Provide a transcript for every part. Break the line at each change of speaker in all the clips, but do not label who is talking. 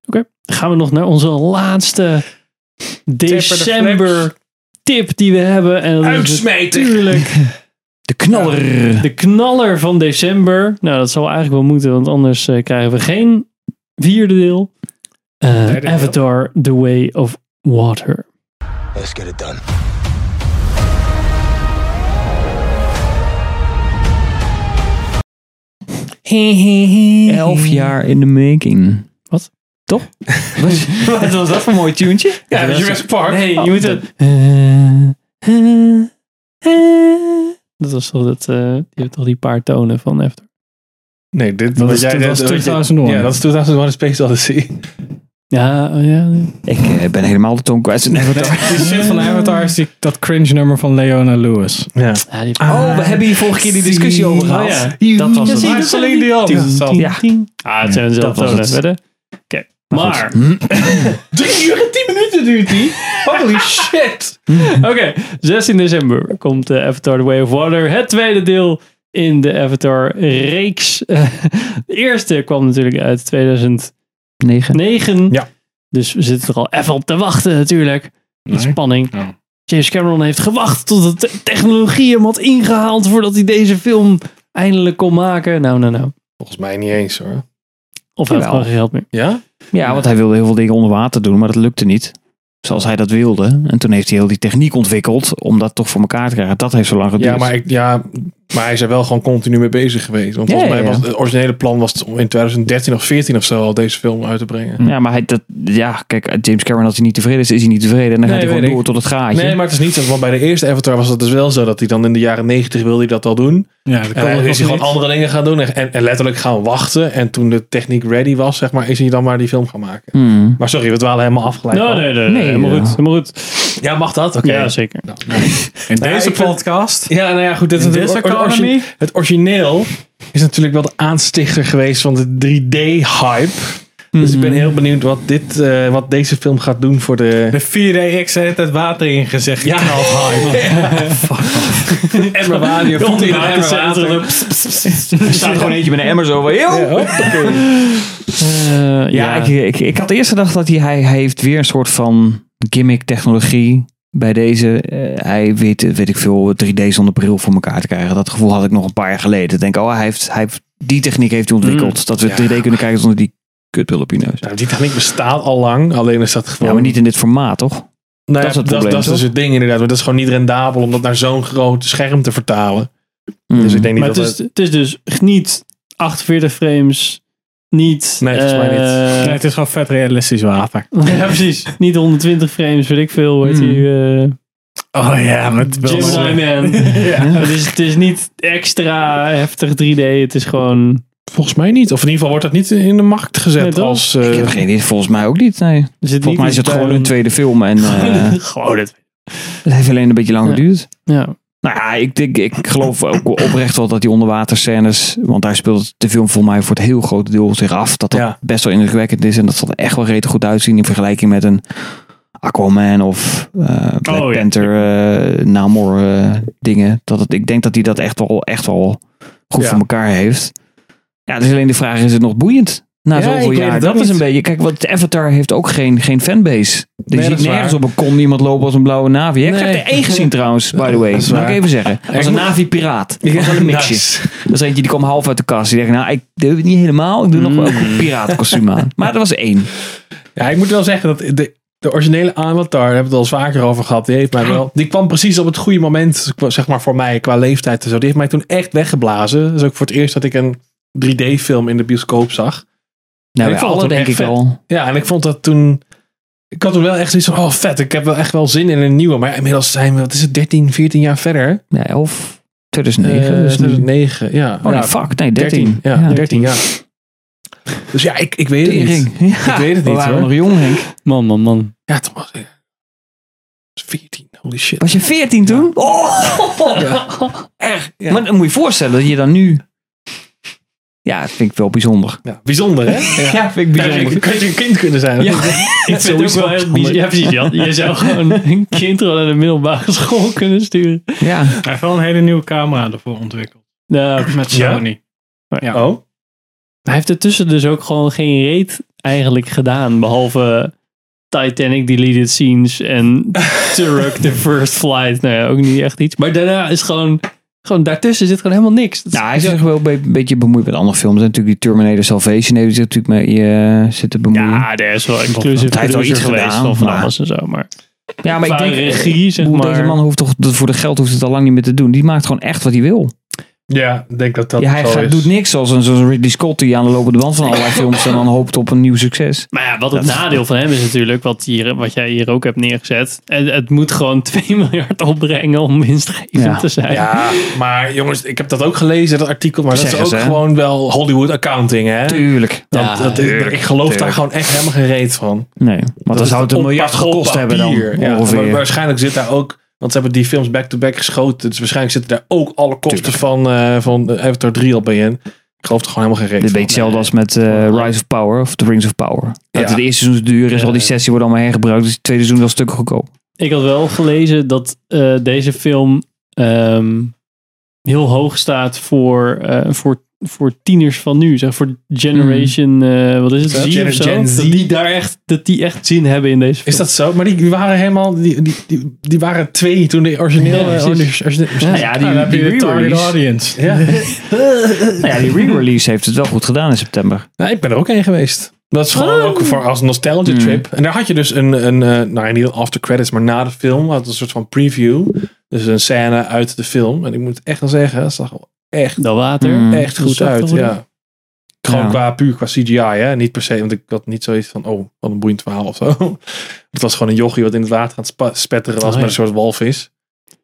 Dan gaan we nog naar onze laatste december tip die we hebben. En dat is
Uitsmijter.
natuurlijk
De knaller.
de knaller van december. Nou, dat zal eigenlijk wel moeten, want anders eh, krijgen we geen vierde deel. Eh,
Derde deel.
Avatar, The Way of Water.
Let's get it done.
Elf jaar in de making.
Wat?
Toch? Wat was dat voor een mooi tuentje? Ah,
Ja, Jurassic Park.
Nee, je
Oh,
moet
dat-
het...
eh,
Dat was toch dat... eh, die hebben toch die paar tonen van After.
Nee, dit
Dat
wat
is- dat was
wat
2001.
Ja, dat is 2001 Space Odyssey.
Ja, oh ja.
Ik eh, ben helemaal de tong kwijt. Nee, wat-
Die shit van Avatar is die, dat cringe nummer van Leona Lewis.
Ja.
ja die-
Oh, we hebben hier vorige keer die discussie over gehad.
Oh Ah. ja, dat was het.
Maar Celine Dion is hetzelfde.
Ja. Ah, het zijn dezelfde
was
tonen.
het.
Wedden? Oké. Maar,
Drie uur en tien minuten duurt die. Holy shit.
oké. 16 december komt eh, Avatar The Way of Water. Het tweede deel in de Avatar-reeks. Eh, de eerste kwam natuurlijk uit 2009.
Negen.
Ja.
Dus we zitten er al even op te wachten natuurlijk. Met spanning.
Ja.
James Cameron heeft gewacht tot de te- technologie hem had ingehaald voordat hij deze film eindelijk kon maken. Nou, nou, nou.
Volgens mij niet eens hoor.
Of hij had
Jawel.
gewoon geen geld meer.
Ja?
Ja, want hij wilde heel veel dingen onder water doen, maar dat lukte niet. Zoals hij dat wilde. En toen heeft hij heel die techniek ontwikkeld om dat toch voor elkaar te krijgen. Dat heeft zo lang geduurd.
Ja, maar, ik, ja, maar hij is er wel gewoon continu mee bezig geweest. Want
Ja,
volgens mij
ja, ja.
was het originele plan was het om in 2013 of 14 of zo al deze film uit te brengen.
Ja, maar hij, dat, ja, kijk, James Cameron, als hij niet tevreden is, is hij niet tevreden. En dan gaat
Nee,
hij gewoon
weet
door
ik.
tot het gaatje.
Nee, maar het is niet zo. Want bij de eerste Avatar was dat dus wel zo dat hij dan in de jaren 90 wilde hij dat al doen.
Ja, dat
En dan is hij
nog
gewoon
niet.
andere dingen gaan doen en, en, en letterlijk gaan wachten. En toen de techniek ready was, zeg maar, is hij dan maar die film gaan maken.
Hmm.
Maar sorry, we dwalen helemaal afgeleid.
Nee,
af.
Nou, nee, nee, nee,
Nee,
helemaal
ja.
goed. Helemaal goed.
Ja, mag dat? Oké.
Ja, zeker.
Nou, nou.
In deze
ik vind-
podcast.
Ja, nou ja, goed. Dit is
In
natuurlijk
this
or- origi-
economy?
het origineel is natuurlijk wel de aanstichter geweest van de 3D-hype. Dus ik ben heel benieuwd wat, dit, eh, wat deze film gaat doen voor de...
Mhm. De 4DX heeft het water ingezegd. Ja. Knalt Emma Wadio.
Komt
Vond
in
in
de
Emma Water.
Er staat gewoon eentje met een emmer zo van, "Yo!"
Eh, ja,
Ja, Ik, ik, ik had eerst gedacht dat hij, hij, hij heeft weer een soort van gimmick technologie bij deze. Eh, hij weet, eh, weet ik veel, 3D zonder bril voor elkaar te krijgen. Dat gevoel had ik nog een paar jaar geleden. Ik denk, oh, hij heeft, hij heeft die techniek heeft hij ontwikkeld. Dat we
Mm. Ja.
3D kunnen kijken zonder die kutpil op je neus.
Nou, die techniek bestaat al lang, alleen is dat gewoon...
Ja, maar niet in dit formaat, toch?
Nou ja,
dat is het
dat,
probleem,
dat is dus
toch?
het ding inderdaad. Maar dat is gewoon niet rendabel om dat naar zo'n groot scherm te vertalen. Dus
Mm. Hmm.
ik denk niet
maar het
dat
is, het is dus niet 48 frames, niet...
Nee, volgens mij
eh,
Nee, het is gewoon vet realistisch water.
ja, precies. Niet 120 frames, weet ik veel. Weet
Hmm.
die, eh,
Oh ja, met
Gemini Man. Het, is, het is niet extra heftig 3D. Het is gewoon...
Volgens mij niet. Of in ieder geval wordt dat niet in de markt gezet
Nee, toch?
als... eh,
Ik heb geen idee, volgens mij ook niet. Nee.
Er zit
Volgens mij is het gewoon een tweede film en eh,
Gewoon het.
het heeft alleen een beetje lang
Ja.
geduurd.
Ja.
Nou ja, ik, ik, ik geloof ook oprecht wel dat die onderwaterscènes, want daar speelt de film voor mij voor het heel grote deel zich af, dat dat
Ja.
best wel indrukwekkend is en dat zal er echt wel redelijk goed uitzien in vergelijking met een Aquaman of eh, Black
Oh, ja.
Panther, eh, Namor eh, dingen. Dat het, ik denk dat hij dat echt wel, echt wel goed
Ja.
voor elkaar heeft. Ja, dus alleen de vraag is het nog boeiend? Na
Ja, ik
zoveel
weet
jaar.
het
Dat
ook
is een
niet.
beetje. Kijk, want Avatar heeft ook geen, geen fanbase. Je
Nee, dat
ziet
is
nergens
waar.
op een kom iemand lopen als een blauwe navi. Ik heb
Nee.
er één gezien trouwens, by the way.
Dat is
Mag
waar.
ik even zeggen. Als een Navi-piraat. Dat was wel een mixje.
Nice.
Dat is eentje die kwam half uit de kast. Die dacht, nou, ik doe het niet helemaal. Ik doe nog wel ook een piratenkostuum aan. Maar er was één. Nou,
Ja, Mm. ik moet wel zeggen dat de, de originele Avatar, daar hebben we het al eens vaker over gehad, die heeft mij wel... Die kwam precies op het goede moment, qua- zeg maar voor mij, qua leeftijd en zo. Die heeft mij toen echt weggeblazen. Dat is ook voor het eerst dat ik een 3D-film in de bioscoop zag.
Nou,
Ik
ik
vond het
alle
ook
denk ik
echt vet.
wel.
Ja, en ik vond dat toen... Ik had toen wel echt zoiets van, oh vet, ik heb wel echt wel zin in een nieuwe. Maar inmiddels zijn we, wat is het, 13, 14 jaar verder.
Ja, of 2009.
negen
dus nu-
2009, ja.
Oh nee,
Eh, ja,
fuck. Nee, 13.
13. Ja, 13, ja. Dus ja, ik, ik weet het niet.
Tering. Ja.
Ik weet het
We
niet
waren
hoor.
nog jong, Henk.
Man, man, man.
Ja, toen was ik 14. Holy shit.
Was je 14 toen? Oh! Echt. Maar dan moet je voorstellen dat je dan nu... Ja, dat vind ik wel bijzonder.
Ja, bijzonder hè? Ja.
vind ik
Bijzonder. Kan je een kind kunnen zijn?
Ja.
Ik vind het ook wel heel bizar. Ja, precies. Jan. Je zou gewoon een kind wel naar de middelbare school kunnen sturen.
Ja.
Hij heeft wel een hele nieuwe camera ervoor ontwikkeld.
Nou,
Met
Ja?
Sony.
Oh,
hij heeft ertussen dus ook gewoon geen reet eigenlijk gedaan? Behalve Titanic Deleted Scenes en Turok The First Flight. Nou ja, ook niet echt iets. Maar daarna is gewoon, gewoon daartussen zit gewoon helemaal niks. Dat is-
Nou, hij is zich wel een be- beetje bemoeid met andere films. En natuurlijk die Terminator Salvation heeft zich natuurlijk mee eh, zitten bemoeien. Ja,
ja, er is wel inclusive
Hij heeft wel
producer
iets
geweest
gedaan,
van van
maar-
alles en zo. Maar,
maar ik
Qua
denk...
regie, zeg
hoe
maar.
Deze man hoeft toch, voor de geld hoeft het al lang niet meer te doen. Die maakt gewoon echt wat hij wil.
Ja, ik denk dat dat
ja, hij
zo
gaat-
is.
doet niks zoals een zoals een Ridley Scott die aan de lopende band van allerlei films en dan hoopt op een nieuw succes.
Maar ja, wat het
Dat-
nadeel van hem is natuurlijk, wat, hier, wat jij hier ook hebt neergezet. Het, het moet gewoon 2 miljard opbrengen om winstgevend
Ja.
te zijn.
Ja, maar jongens, ik heb dat ook gelezen, dat artikel. Maar dat is
Zeggen
ook
ze, hè?
gewoon wel Hollywood accounting, hè?
Tuurlijk.
Dat,
Ja,
dat,
tuurlijk,
ik geloof daar
tuurlijk.
gewoon echt helemaal geen reet van.
Nee, want dan
Dat
zou
is
het een
op-
miljard
op
gekost hebben dan
papier. Ja, maar
ongeveer.
waarschijnlijk zit daar ook... Want ze hebben die films back-to-back geschoten. Dus waarschijnlijk zitten daar ook alle kosten van, eh van eh, Avatar 3 al bij in. Ik geloof er gewoon helemaal geen reet
Dit
van.
beetje hetzelfde als met eh, Rise of Power of The Rings of Power. Dat
Ja.
het eerste seizoen is duur is, al die sessie wordt allemaal hergebruikt. Dus het tweede seizoen wel stukken goedkoop.
Ik had wel gelezen dat eh, deze film ehm, heel hoog staat voor, eh, voor, voor tieners van nu. Zeg, voor Generation,
Hmm.
eh, wat is het?
Ja,
Z
Gen-
of zo?
Gen Z.
Dat die daar echt, dat die echt zin hebben in deze film.
Is dat zo? Maar die, die waren helemaal... Die, die, die, die waren twee toen de origineel...
Ja,
eh,
precies.
origineel-
Nou ja, die-
dan heb
die
je de
re-release.
target audience.
audience.
Ja.
Nou ja, die re-release heeft het wel goed gedaan in september.
Nou, ik ben er ook heen geweest. Dat is gewoon ook voor als
Hmm.
nostalgia trip. En daar had je dus een, een eh, nou niet een after credits, maar na de film had een soort van preview. Dus een scène uit de film. En ik moet echt wel zeggen, dat zag er echt,
Dat water.
Mm.
echt goed
zacht
uit.
geworden.
Ja. Gewoon
Ja.
qua puur qua CGI, hè? Niet per se, want ik had niet zoiets van, oh, wat een boeiend verhaal of zo. Het was gewoon een jochie wat in het water aan het spa- spetteren was
Oh, ja.
met een soort walvis.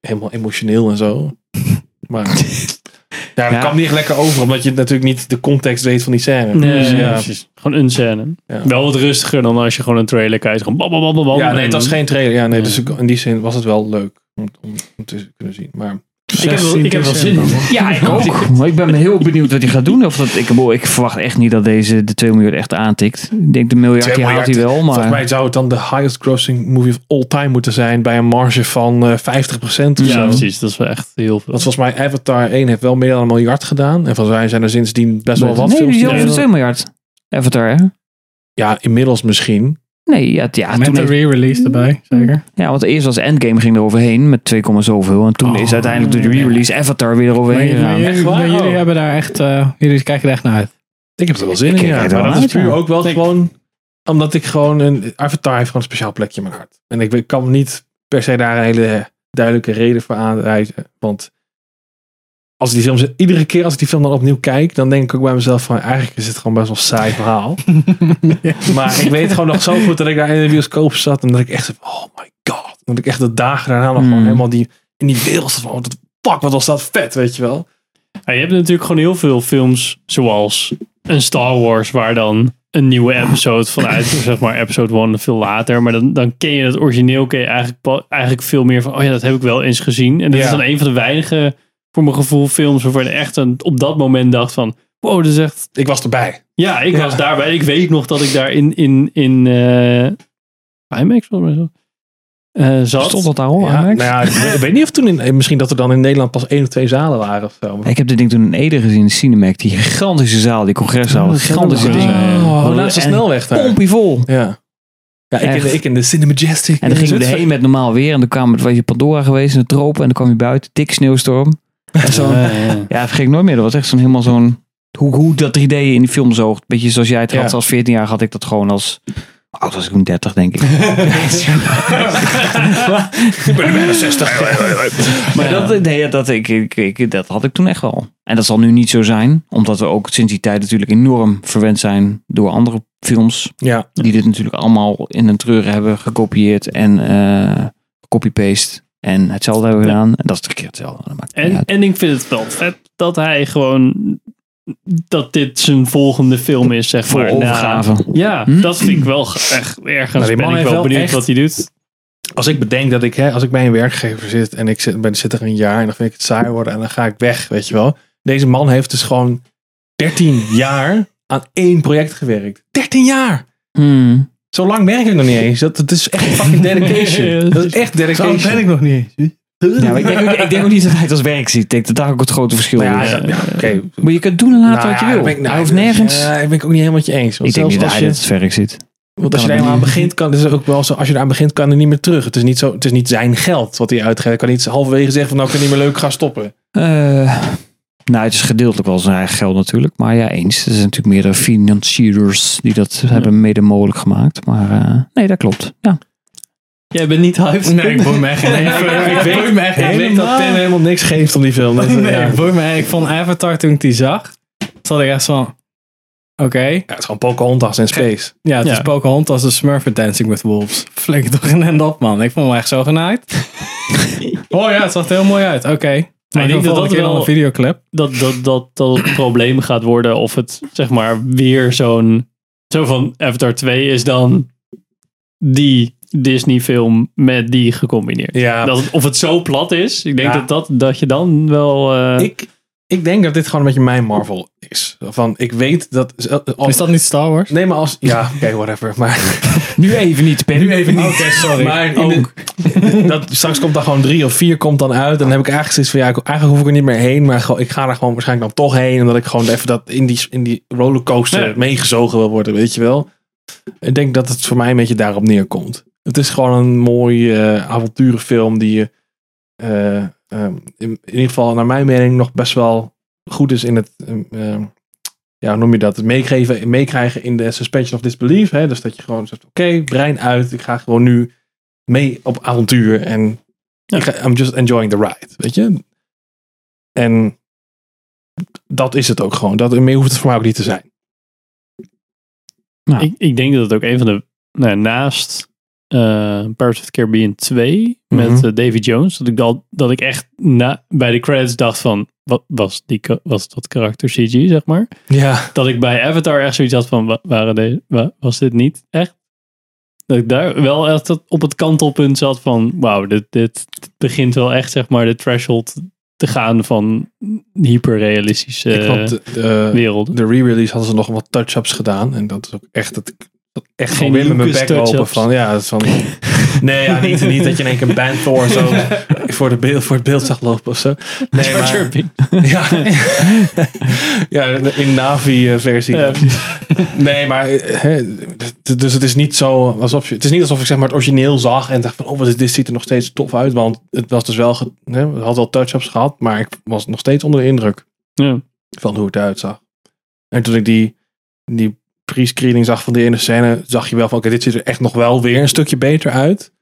Helemaal emotioneel en zo. Maar ja, dat
Ja.
kwam niet echt lekker over, omdat je natuurlijk niet de context weet van die scène.
Nee,
Dus ja.
precies. Gewoon een scène.
Ja.
Wel wat rustiger dan als je gewoon een trailer kijkt. Gewoon bam, bam, bam, bam, bam.
Ja, nee, het was
En-
geen trailer. Ja, nee,
Ja.
dus ik- in die zin was het wel leuk om, om, om te kunnen zien. Maar
Ik heb wel, ik heb wel zin in.
Ja, ik ook. Maar ik ben heel benieuwd wat hij gaat doen. Of dat, ik, boh, ik verwacht echt niet dat deze de 2 miljard echt aantikt. Ik denk de miljard,
Twee
die haalt hij wel.
volgens
Maar
mij zou het dan de highest grossing movie of all time moeten zijn bij een marge van eh 50% of
Ja,
zo.
precies. Dat is wel echt heel veel.
Want volgens mij Avatar 1 heeft wel meer dan een miljard gedaan. En van zijn zijn er sindsdien best wel wat
nee,
films. die
die is over de
dan-
2 miljard. Avatar, hè?
ja, inmiddels misschien.
Nee, ja, t- ja,
Met
Ah, toen
de re-release erbij, zeker.
Ja, want eerst was Endgame ging eroverheen met 2, komma zoveel. En toen
Oh.
is uiteindelijk door de re-release Avatar weer
Maar,
eroverheen
maar
gegaan.
jullie,
Echt waar?
maar jullie
Oh.
hebben daar echt, eh, jullie kijken er echt naar uit.
Ik heb er wel zin in.
kijk
Ja.
er
Maar
wel
dat is
uit,
puur
ja.
ook wel
Ik-
gewoon omdat ik gewoon een Avatar heeft gewoon een speciaal plekje in mijn hart. En ik weet- kan niet per se daar een hele duidelijke reden voor aanwijzen. Want als die film, iedere keer als ik die film dan opnieuw kijk, dan denk ik ook bij mezelf van eigenlijk is het gewoon best wel een saai verhaal. Maar ik weet gewoon nog zo goed dat ik daar in de bioscoop zat en dat ik echt zo van, oh my god. Dat ik echt de dagen daarna nog gewoon
Mm.
helemaal die, in die wereld zat van, oh, dat fuck, wat was dat vet, weet je wel.
Ja, je hebt natuurlijk gewoon heel veel films zoals een Star Wars waar dan een nieuwe episode vanuit, zeg maar episode 1 veel later, maar dan, dan ken je het origineel, ken je eigenlijk, pa- eigenlijk veel meer van, oh ja, dat heb ik wel eens gezien. En dat
Ja.
is dan een van de weinige, voor mijn gevoel, films waarvan ik echt een, op dat moment dacht van, wow, dat is echt,
Ik was erbij.
ja, ik
Ja.
was daarbij. Ik weet nog dat ik daar in, in, in eh, IMAX volgens mij zo, eh, zat.
Stond dat daar al?
Ja,
Oh, Ajax?
nou ja, ik weet- ik weet niet of toen in, eh, misschien dat er dan in Nederland pas één of twee zalen waren of zo.
Ik heb dit ding toen in Ede gezien, in Cinemac. Die gigantische zaal, die congreszaal.
Oh,
gigantische
dat is
ding.
wel zo, ja.
Oh,
Wat
naast de
een-
snelweg daar.
Pompie vol.
Ja. Ja, ik in, de,
Echt.
ik in de Cinemajestic.
En dan gingen we erheen met normaal weer. En toen kwam het, was je Pandora geweest in de tropen. En dan kwam je buiten, dik sneeuwstorm. En zo,
Ja, ja.
ja, dat vergeet ik nooit meer. Dat was echt zo'n helemaal zo'n... Hoe, hoe dat 3D in die film zoogt. Beetje zoals jij het
Ja.
had. Als 14 jaar had ik dat gewoon als... Oud was ik toen 30, denk ik.
Ik ben bijna 60.
Maar dat, nee, dat, ik, ik, ik- dat had ik toen echt wel. En dat zal nu niet zo zijn, omdat we ook sinds die tijd natuurlijk enorm verwend zijn door andere films.
Ja,
Die dit natuurlijk allemaal in een treuren hebben gekopieerd en eh copy-paste. En hetzelfde hebben
Ja.
gedaan. En dat is de keer hetzelfde. Dat maakt niet
En,
uit.
en ik vind het wel vet dat hij gewoon dat dit zijn volgende film is, zeg
Voor
maar. na-
overgave.
Ja,
Hm?
dat vind ik wel ge- echt ergens.
Maar die man
ben ik
heeft
wel
wel
benieuwd
echt-
wat hij doet.
als ik bedenk dat ik, hè, als ik bij een werkgever zit en ik zit, ben, zit er een jaar en dan vind ik het saai worden en dan ga ik weg, weet je wel. Deze man heeft dus gewoon 13 jaar aan één project gewerkt. 13 jaar!
Hmm.
Zo lang werk ik nog niet eens. Dat, dat is echt fucking dedication. Dat is echt dedication.
nog niet eens.
Ja, maar ik, denk ook, ik denk ook niet dat hij het als werk ziet. Ik denk dat daar ook het grote verschil
Nou
is.
ja, dat- ja, oké.
Maar je kunt doen en laten
Nou
wat je
ja,
wil.
ben ik- nou,
hij hoeft
dus,
nergens.
eh, ik ben ik ook niet helemaal met je eens. Want
ik denk
zelfs
niet dat
als
hij
je,
dat als werk ziet.
want als je
kan
er
het
eenmaal aan begint, kan het is ook wel zo. Als je eraan begint, kan er niet meer terug. Het is niet, zo, het is niet zijn geld wat hij uitgeeft. Hij kan niet halverwege zeggen van nou, ik kan niet meer leuk gaan stoppen.
Eh, nou, het is gedeeltelijk wel zijn eigen geld natuurlijk. Maar ja, eens. Er zijn natuurlijk meerdere financiers die dat hebben mede mogelijk gemaakt. Maar eh, nee, dat klopt. Ja.
Jij bent niet hyped.
Nee, ik boei me echt geen
ik,
even. Ik
weet,
boei me echt
ik weet dat
helemaal.
Tim helemaal niks geeft om die film. Dat,
Nee,
ja.
ik boei me echt. Ik vond Avatar toen ik die zag, zat ik echt van, oké.
Ja, het is gewoon Pocahontas in space.
Ja, het
Ja.
is Pocahontas als de Smurf in Dancing with Wolves. Flink toch in en dat, man. Ik vond hem echt zo genaaid. oh ja, het zag er heel mooi uit. Oké. Maar ik denk dat dat wel... een
wel-
videoclip.
dat, dat, dat, dat het probleem gaat worden of het zeg maar weer zo'n zo van Avatar 2 is dan die Disney film met die gecombineerd.
Ja,
Dat het- of het zo plat is, ik denk
Ja.
dat, dat, dat je dan wel... eh,
ik, ik denk dat dit gewoon een beetje mijn Marvel is. Van, ik weet dat...
Is dat niet Star Wars?
Nee, maar als... Ja, oké, whatever. Maar,
Nu even niet, Ben.
nu even niet.
Oké, sorry. Oh.
Maar in de- dat, straks komt daar gewoon drie of vier komt dan uit. En dan heb ik eigenlijk zoiets van, ja, ik- eigenlijk hoef ik er niet meer heen. Maar gewoon- ik ga er gewoon waarschijnlijk dan toch heen. Omdat ik gewoon even dat in die, in die rollercoaster
Ja.
meegezogen wil worden, weet je wel. Ik denk dat het voor mij een beetje daarop neerkomt. Het is gewoon een mooie eh, avonturenfilm die je eh, ehm, in, in ieder geval naar mijn mening nog best wel goed is in het... ehm, ehm, ja, hoe noem je dat? Het meegeven, meekrijgen in de suspension of disbelief. Hè? Dus dat je gewoon zegt, oké, brein uit. Ik ga gewoon nu mee op avontuur. En ik ga, I'm just enjoying the ride, weet je? En dat is het ook gewoon. Dat, meer hoeft het voor mij ook niet te zijn.
ik, ik denk dat het ook een van de... Nou, ja, naast eh Pirates of the Caribbean 2 met
Mhm.
eh, Davy Jones, dat ik, dat, dat ik echt na, bij de credits dacht van... Wat was, die, ka- was dat karakter CG, zeg maar?
Ja.
dat ik bij Avatar echt zoiets had van, wa- waren deze, wa- was dit niet echt? Dat ik daar wel echt tot- op het kantelpunt zat van, wauw, dit, dit begint wel echt, zeg maar, de threshold te gaan van hyperrealistische
ik vond
eh,
de, de,
werelden.
de re-release hadden ze nog wat touch-ups gedaan. En dat is ook echt... Dat, ik- dat echt
Geen
gewoon weer met mijn
Lucas
bek open
touch-ups.
van... Ja, dat is van... Nee, ja, niet, niet dat je in één keer Banthor zo voor, de beeld, voor het beeld zag lopen of zo. Nee, maar, ja, ja, in Navi-versie.
Ja,
Nee, maar eh, hè, d- dus het is niet zo alsof je, het is niet alsof ik zeg maar het origineel zag en dacht van oh wat is dit ziet er nog steeds tof uit, want het was dus wel ge- hè, het had wel touch-ups gehad, maar ik was nog steeds onder de indruk
Ja.
van hoe het eruit zag. En toen ik die die pre-screening zag van die ene scène, zag je wel van oké dit ziet er echt nog wel weer een stukje beter uit.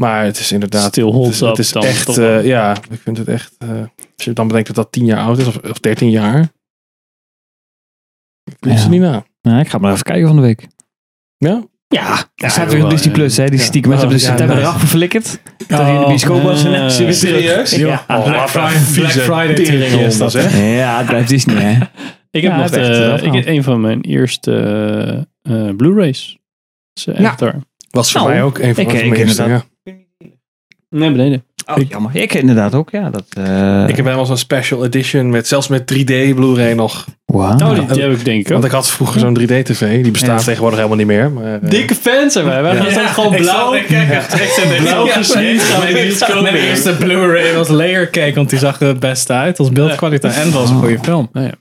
Maar het is inderdaad
Still
het
holds
is, het
up
is
dan
echt
toch
eh,
wel.
ja, ik vind het echt eh, als je dan bedenkt dat dat 10 jaar oud is of, of 13 jaar. Ik weet
Ja.
ze niet na.
Nou, ik ga maar even kijken van de week.
Ja?
Ja, er staat
joh,
weer op
wel,
Disney
ja.
Plus, hè? Die
Ja.
stiekem hebben
Oh,
ze in
ja,
september
nice.
eraf geflikkerd. Dat hij in de bioscoop was en
eh,
ze weer terug.
serieus?
Ja.
Oh,
Black
wat een
Friday-
vieze
Black Friday
tering
tering
is dat, hè?
Ja, het blijft Disney, hè?
Ik heb
Ja,
nog
het is echt,
eh,
eh,
ik heb een van mijn eerste eh, eh, Blu-rays. Is, eh,
Ja.
Avatar.
Was voor
Nou,
mij ook een van
ik-
de
ik
eerste.
inderdaad.
Ja.
Nee, beneden.
Oh, jammer. Ik inderdaad ook, ja. Dat, eh
Ik heb helemaal zo'n special edition, met, zelfs met 3D Blu-ray nog.
wauw.
Oh, die, die heb ik denk ik ook.
Want ik had vroeger zo'n 3D-tv, die bestaat
Ja.
tegenwoordig helemaal niet meer. Maar, eh,
Dikke fans zijn wij. Wij
Ja.
gaan steeds gewoon blauw. Blauw
Ja,
gesmeed gaan we in de bioscoop
Mijn
weer.
eerste Blu-ray was Layer Cake, want die zag er het beste uit. Als beeldkwaliteit en het was een goede film.
Ja, ja.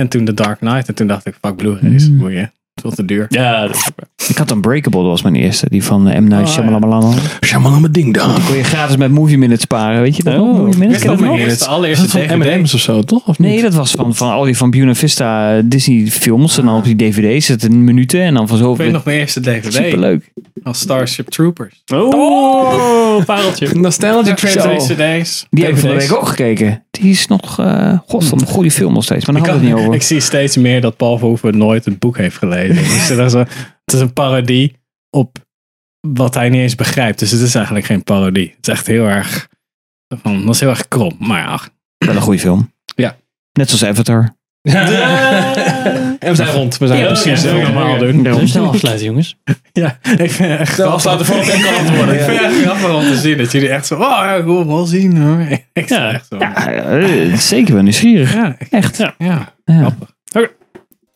En toen The Dark Knight. En toen dacht ik, fuck Blu-rays.
Mm.
Boeien. Het is wel te duur.
Ja, dat is waar.
Ik had Unbreakable, dat was mijn eerste. Die van eh, M. Night
Oh,
Shyamalan.
Shaman mijn ding
Die
dan.
kon je gratis met Movie Minute sparen, weet je dat?
Oh,
nog? Movie Minute,
Is
ken je dat
dat mijn
nog?
eerste,
Is
allereerste
dat van
DVD?
M&M's of zo, toch? Of
Nee,
niet?
dat was van, van al die van Buena Vista eh, Disney films. En dan op die dvd's zitten minuten. En dan van
Ik weet
zoveel.
nog mijn eerste DVD.
Superleuk.
Als Starship Troopers.
Oh, pareltje.
Nostalgia
Zo.
Twee CD's.
Die heb ik van de
DVD's.
week ook gekeken. Die is nog, eh god, wat een goede film nog steeds. Maar daar
Ik,
hadden we het niet
kan-
over.
ik zie steeds meer dat Paul Verhoeven nooit het boek heeft gelezen. Dus dat is een- het is een parodie op wat hij niet eens begrijpt. Dus het is eigenlijk geen parodie. Het is echt heel erg... Van, dat is heel erg krom. Maar ja,
Wel een goede film.
Ja.
Net zoals Avatar.
En we zijn rond. We zijn
Ja,
rond.
precies.
Ja,
dat
oké.
wil ik normaal
ja.
doen.
Zullen we snel afsluiten, jongens?
Ja, ik vind het echt
Zo, afsluit de volgende keer kan het worden,
Ik
ja.
vind het echt grappig om te zien. Dat jullie echt zo, oh ja, ik wil hem wel zien hoor. Ik
Ja.
ja. echt zo. Ja,
Ja, eh, zeker wel nieuwsgierig.
ja.
Echt.
Ja.
Ja.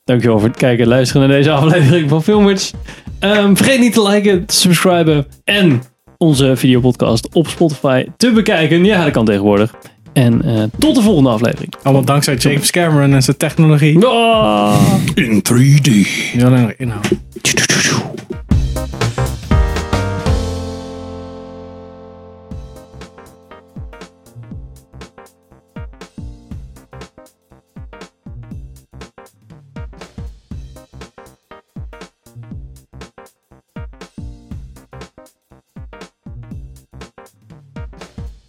Dankjewel voor het kijken en luisteren naar deze aflevering van Filmers. Ehm, vergeet niet te liken, te subscriben en onze videopodcast op Spotify te bekijken. Ja, dat kan tegenwoordig. En eh, tot de volgende aflevering.
Allemaal dankzij James Cameron en zijn technologie.
Ah!
In 3D.
Nu alleen nog inhoud.
Tjoe, tjoe, tjoe, tjoe.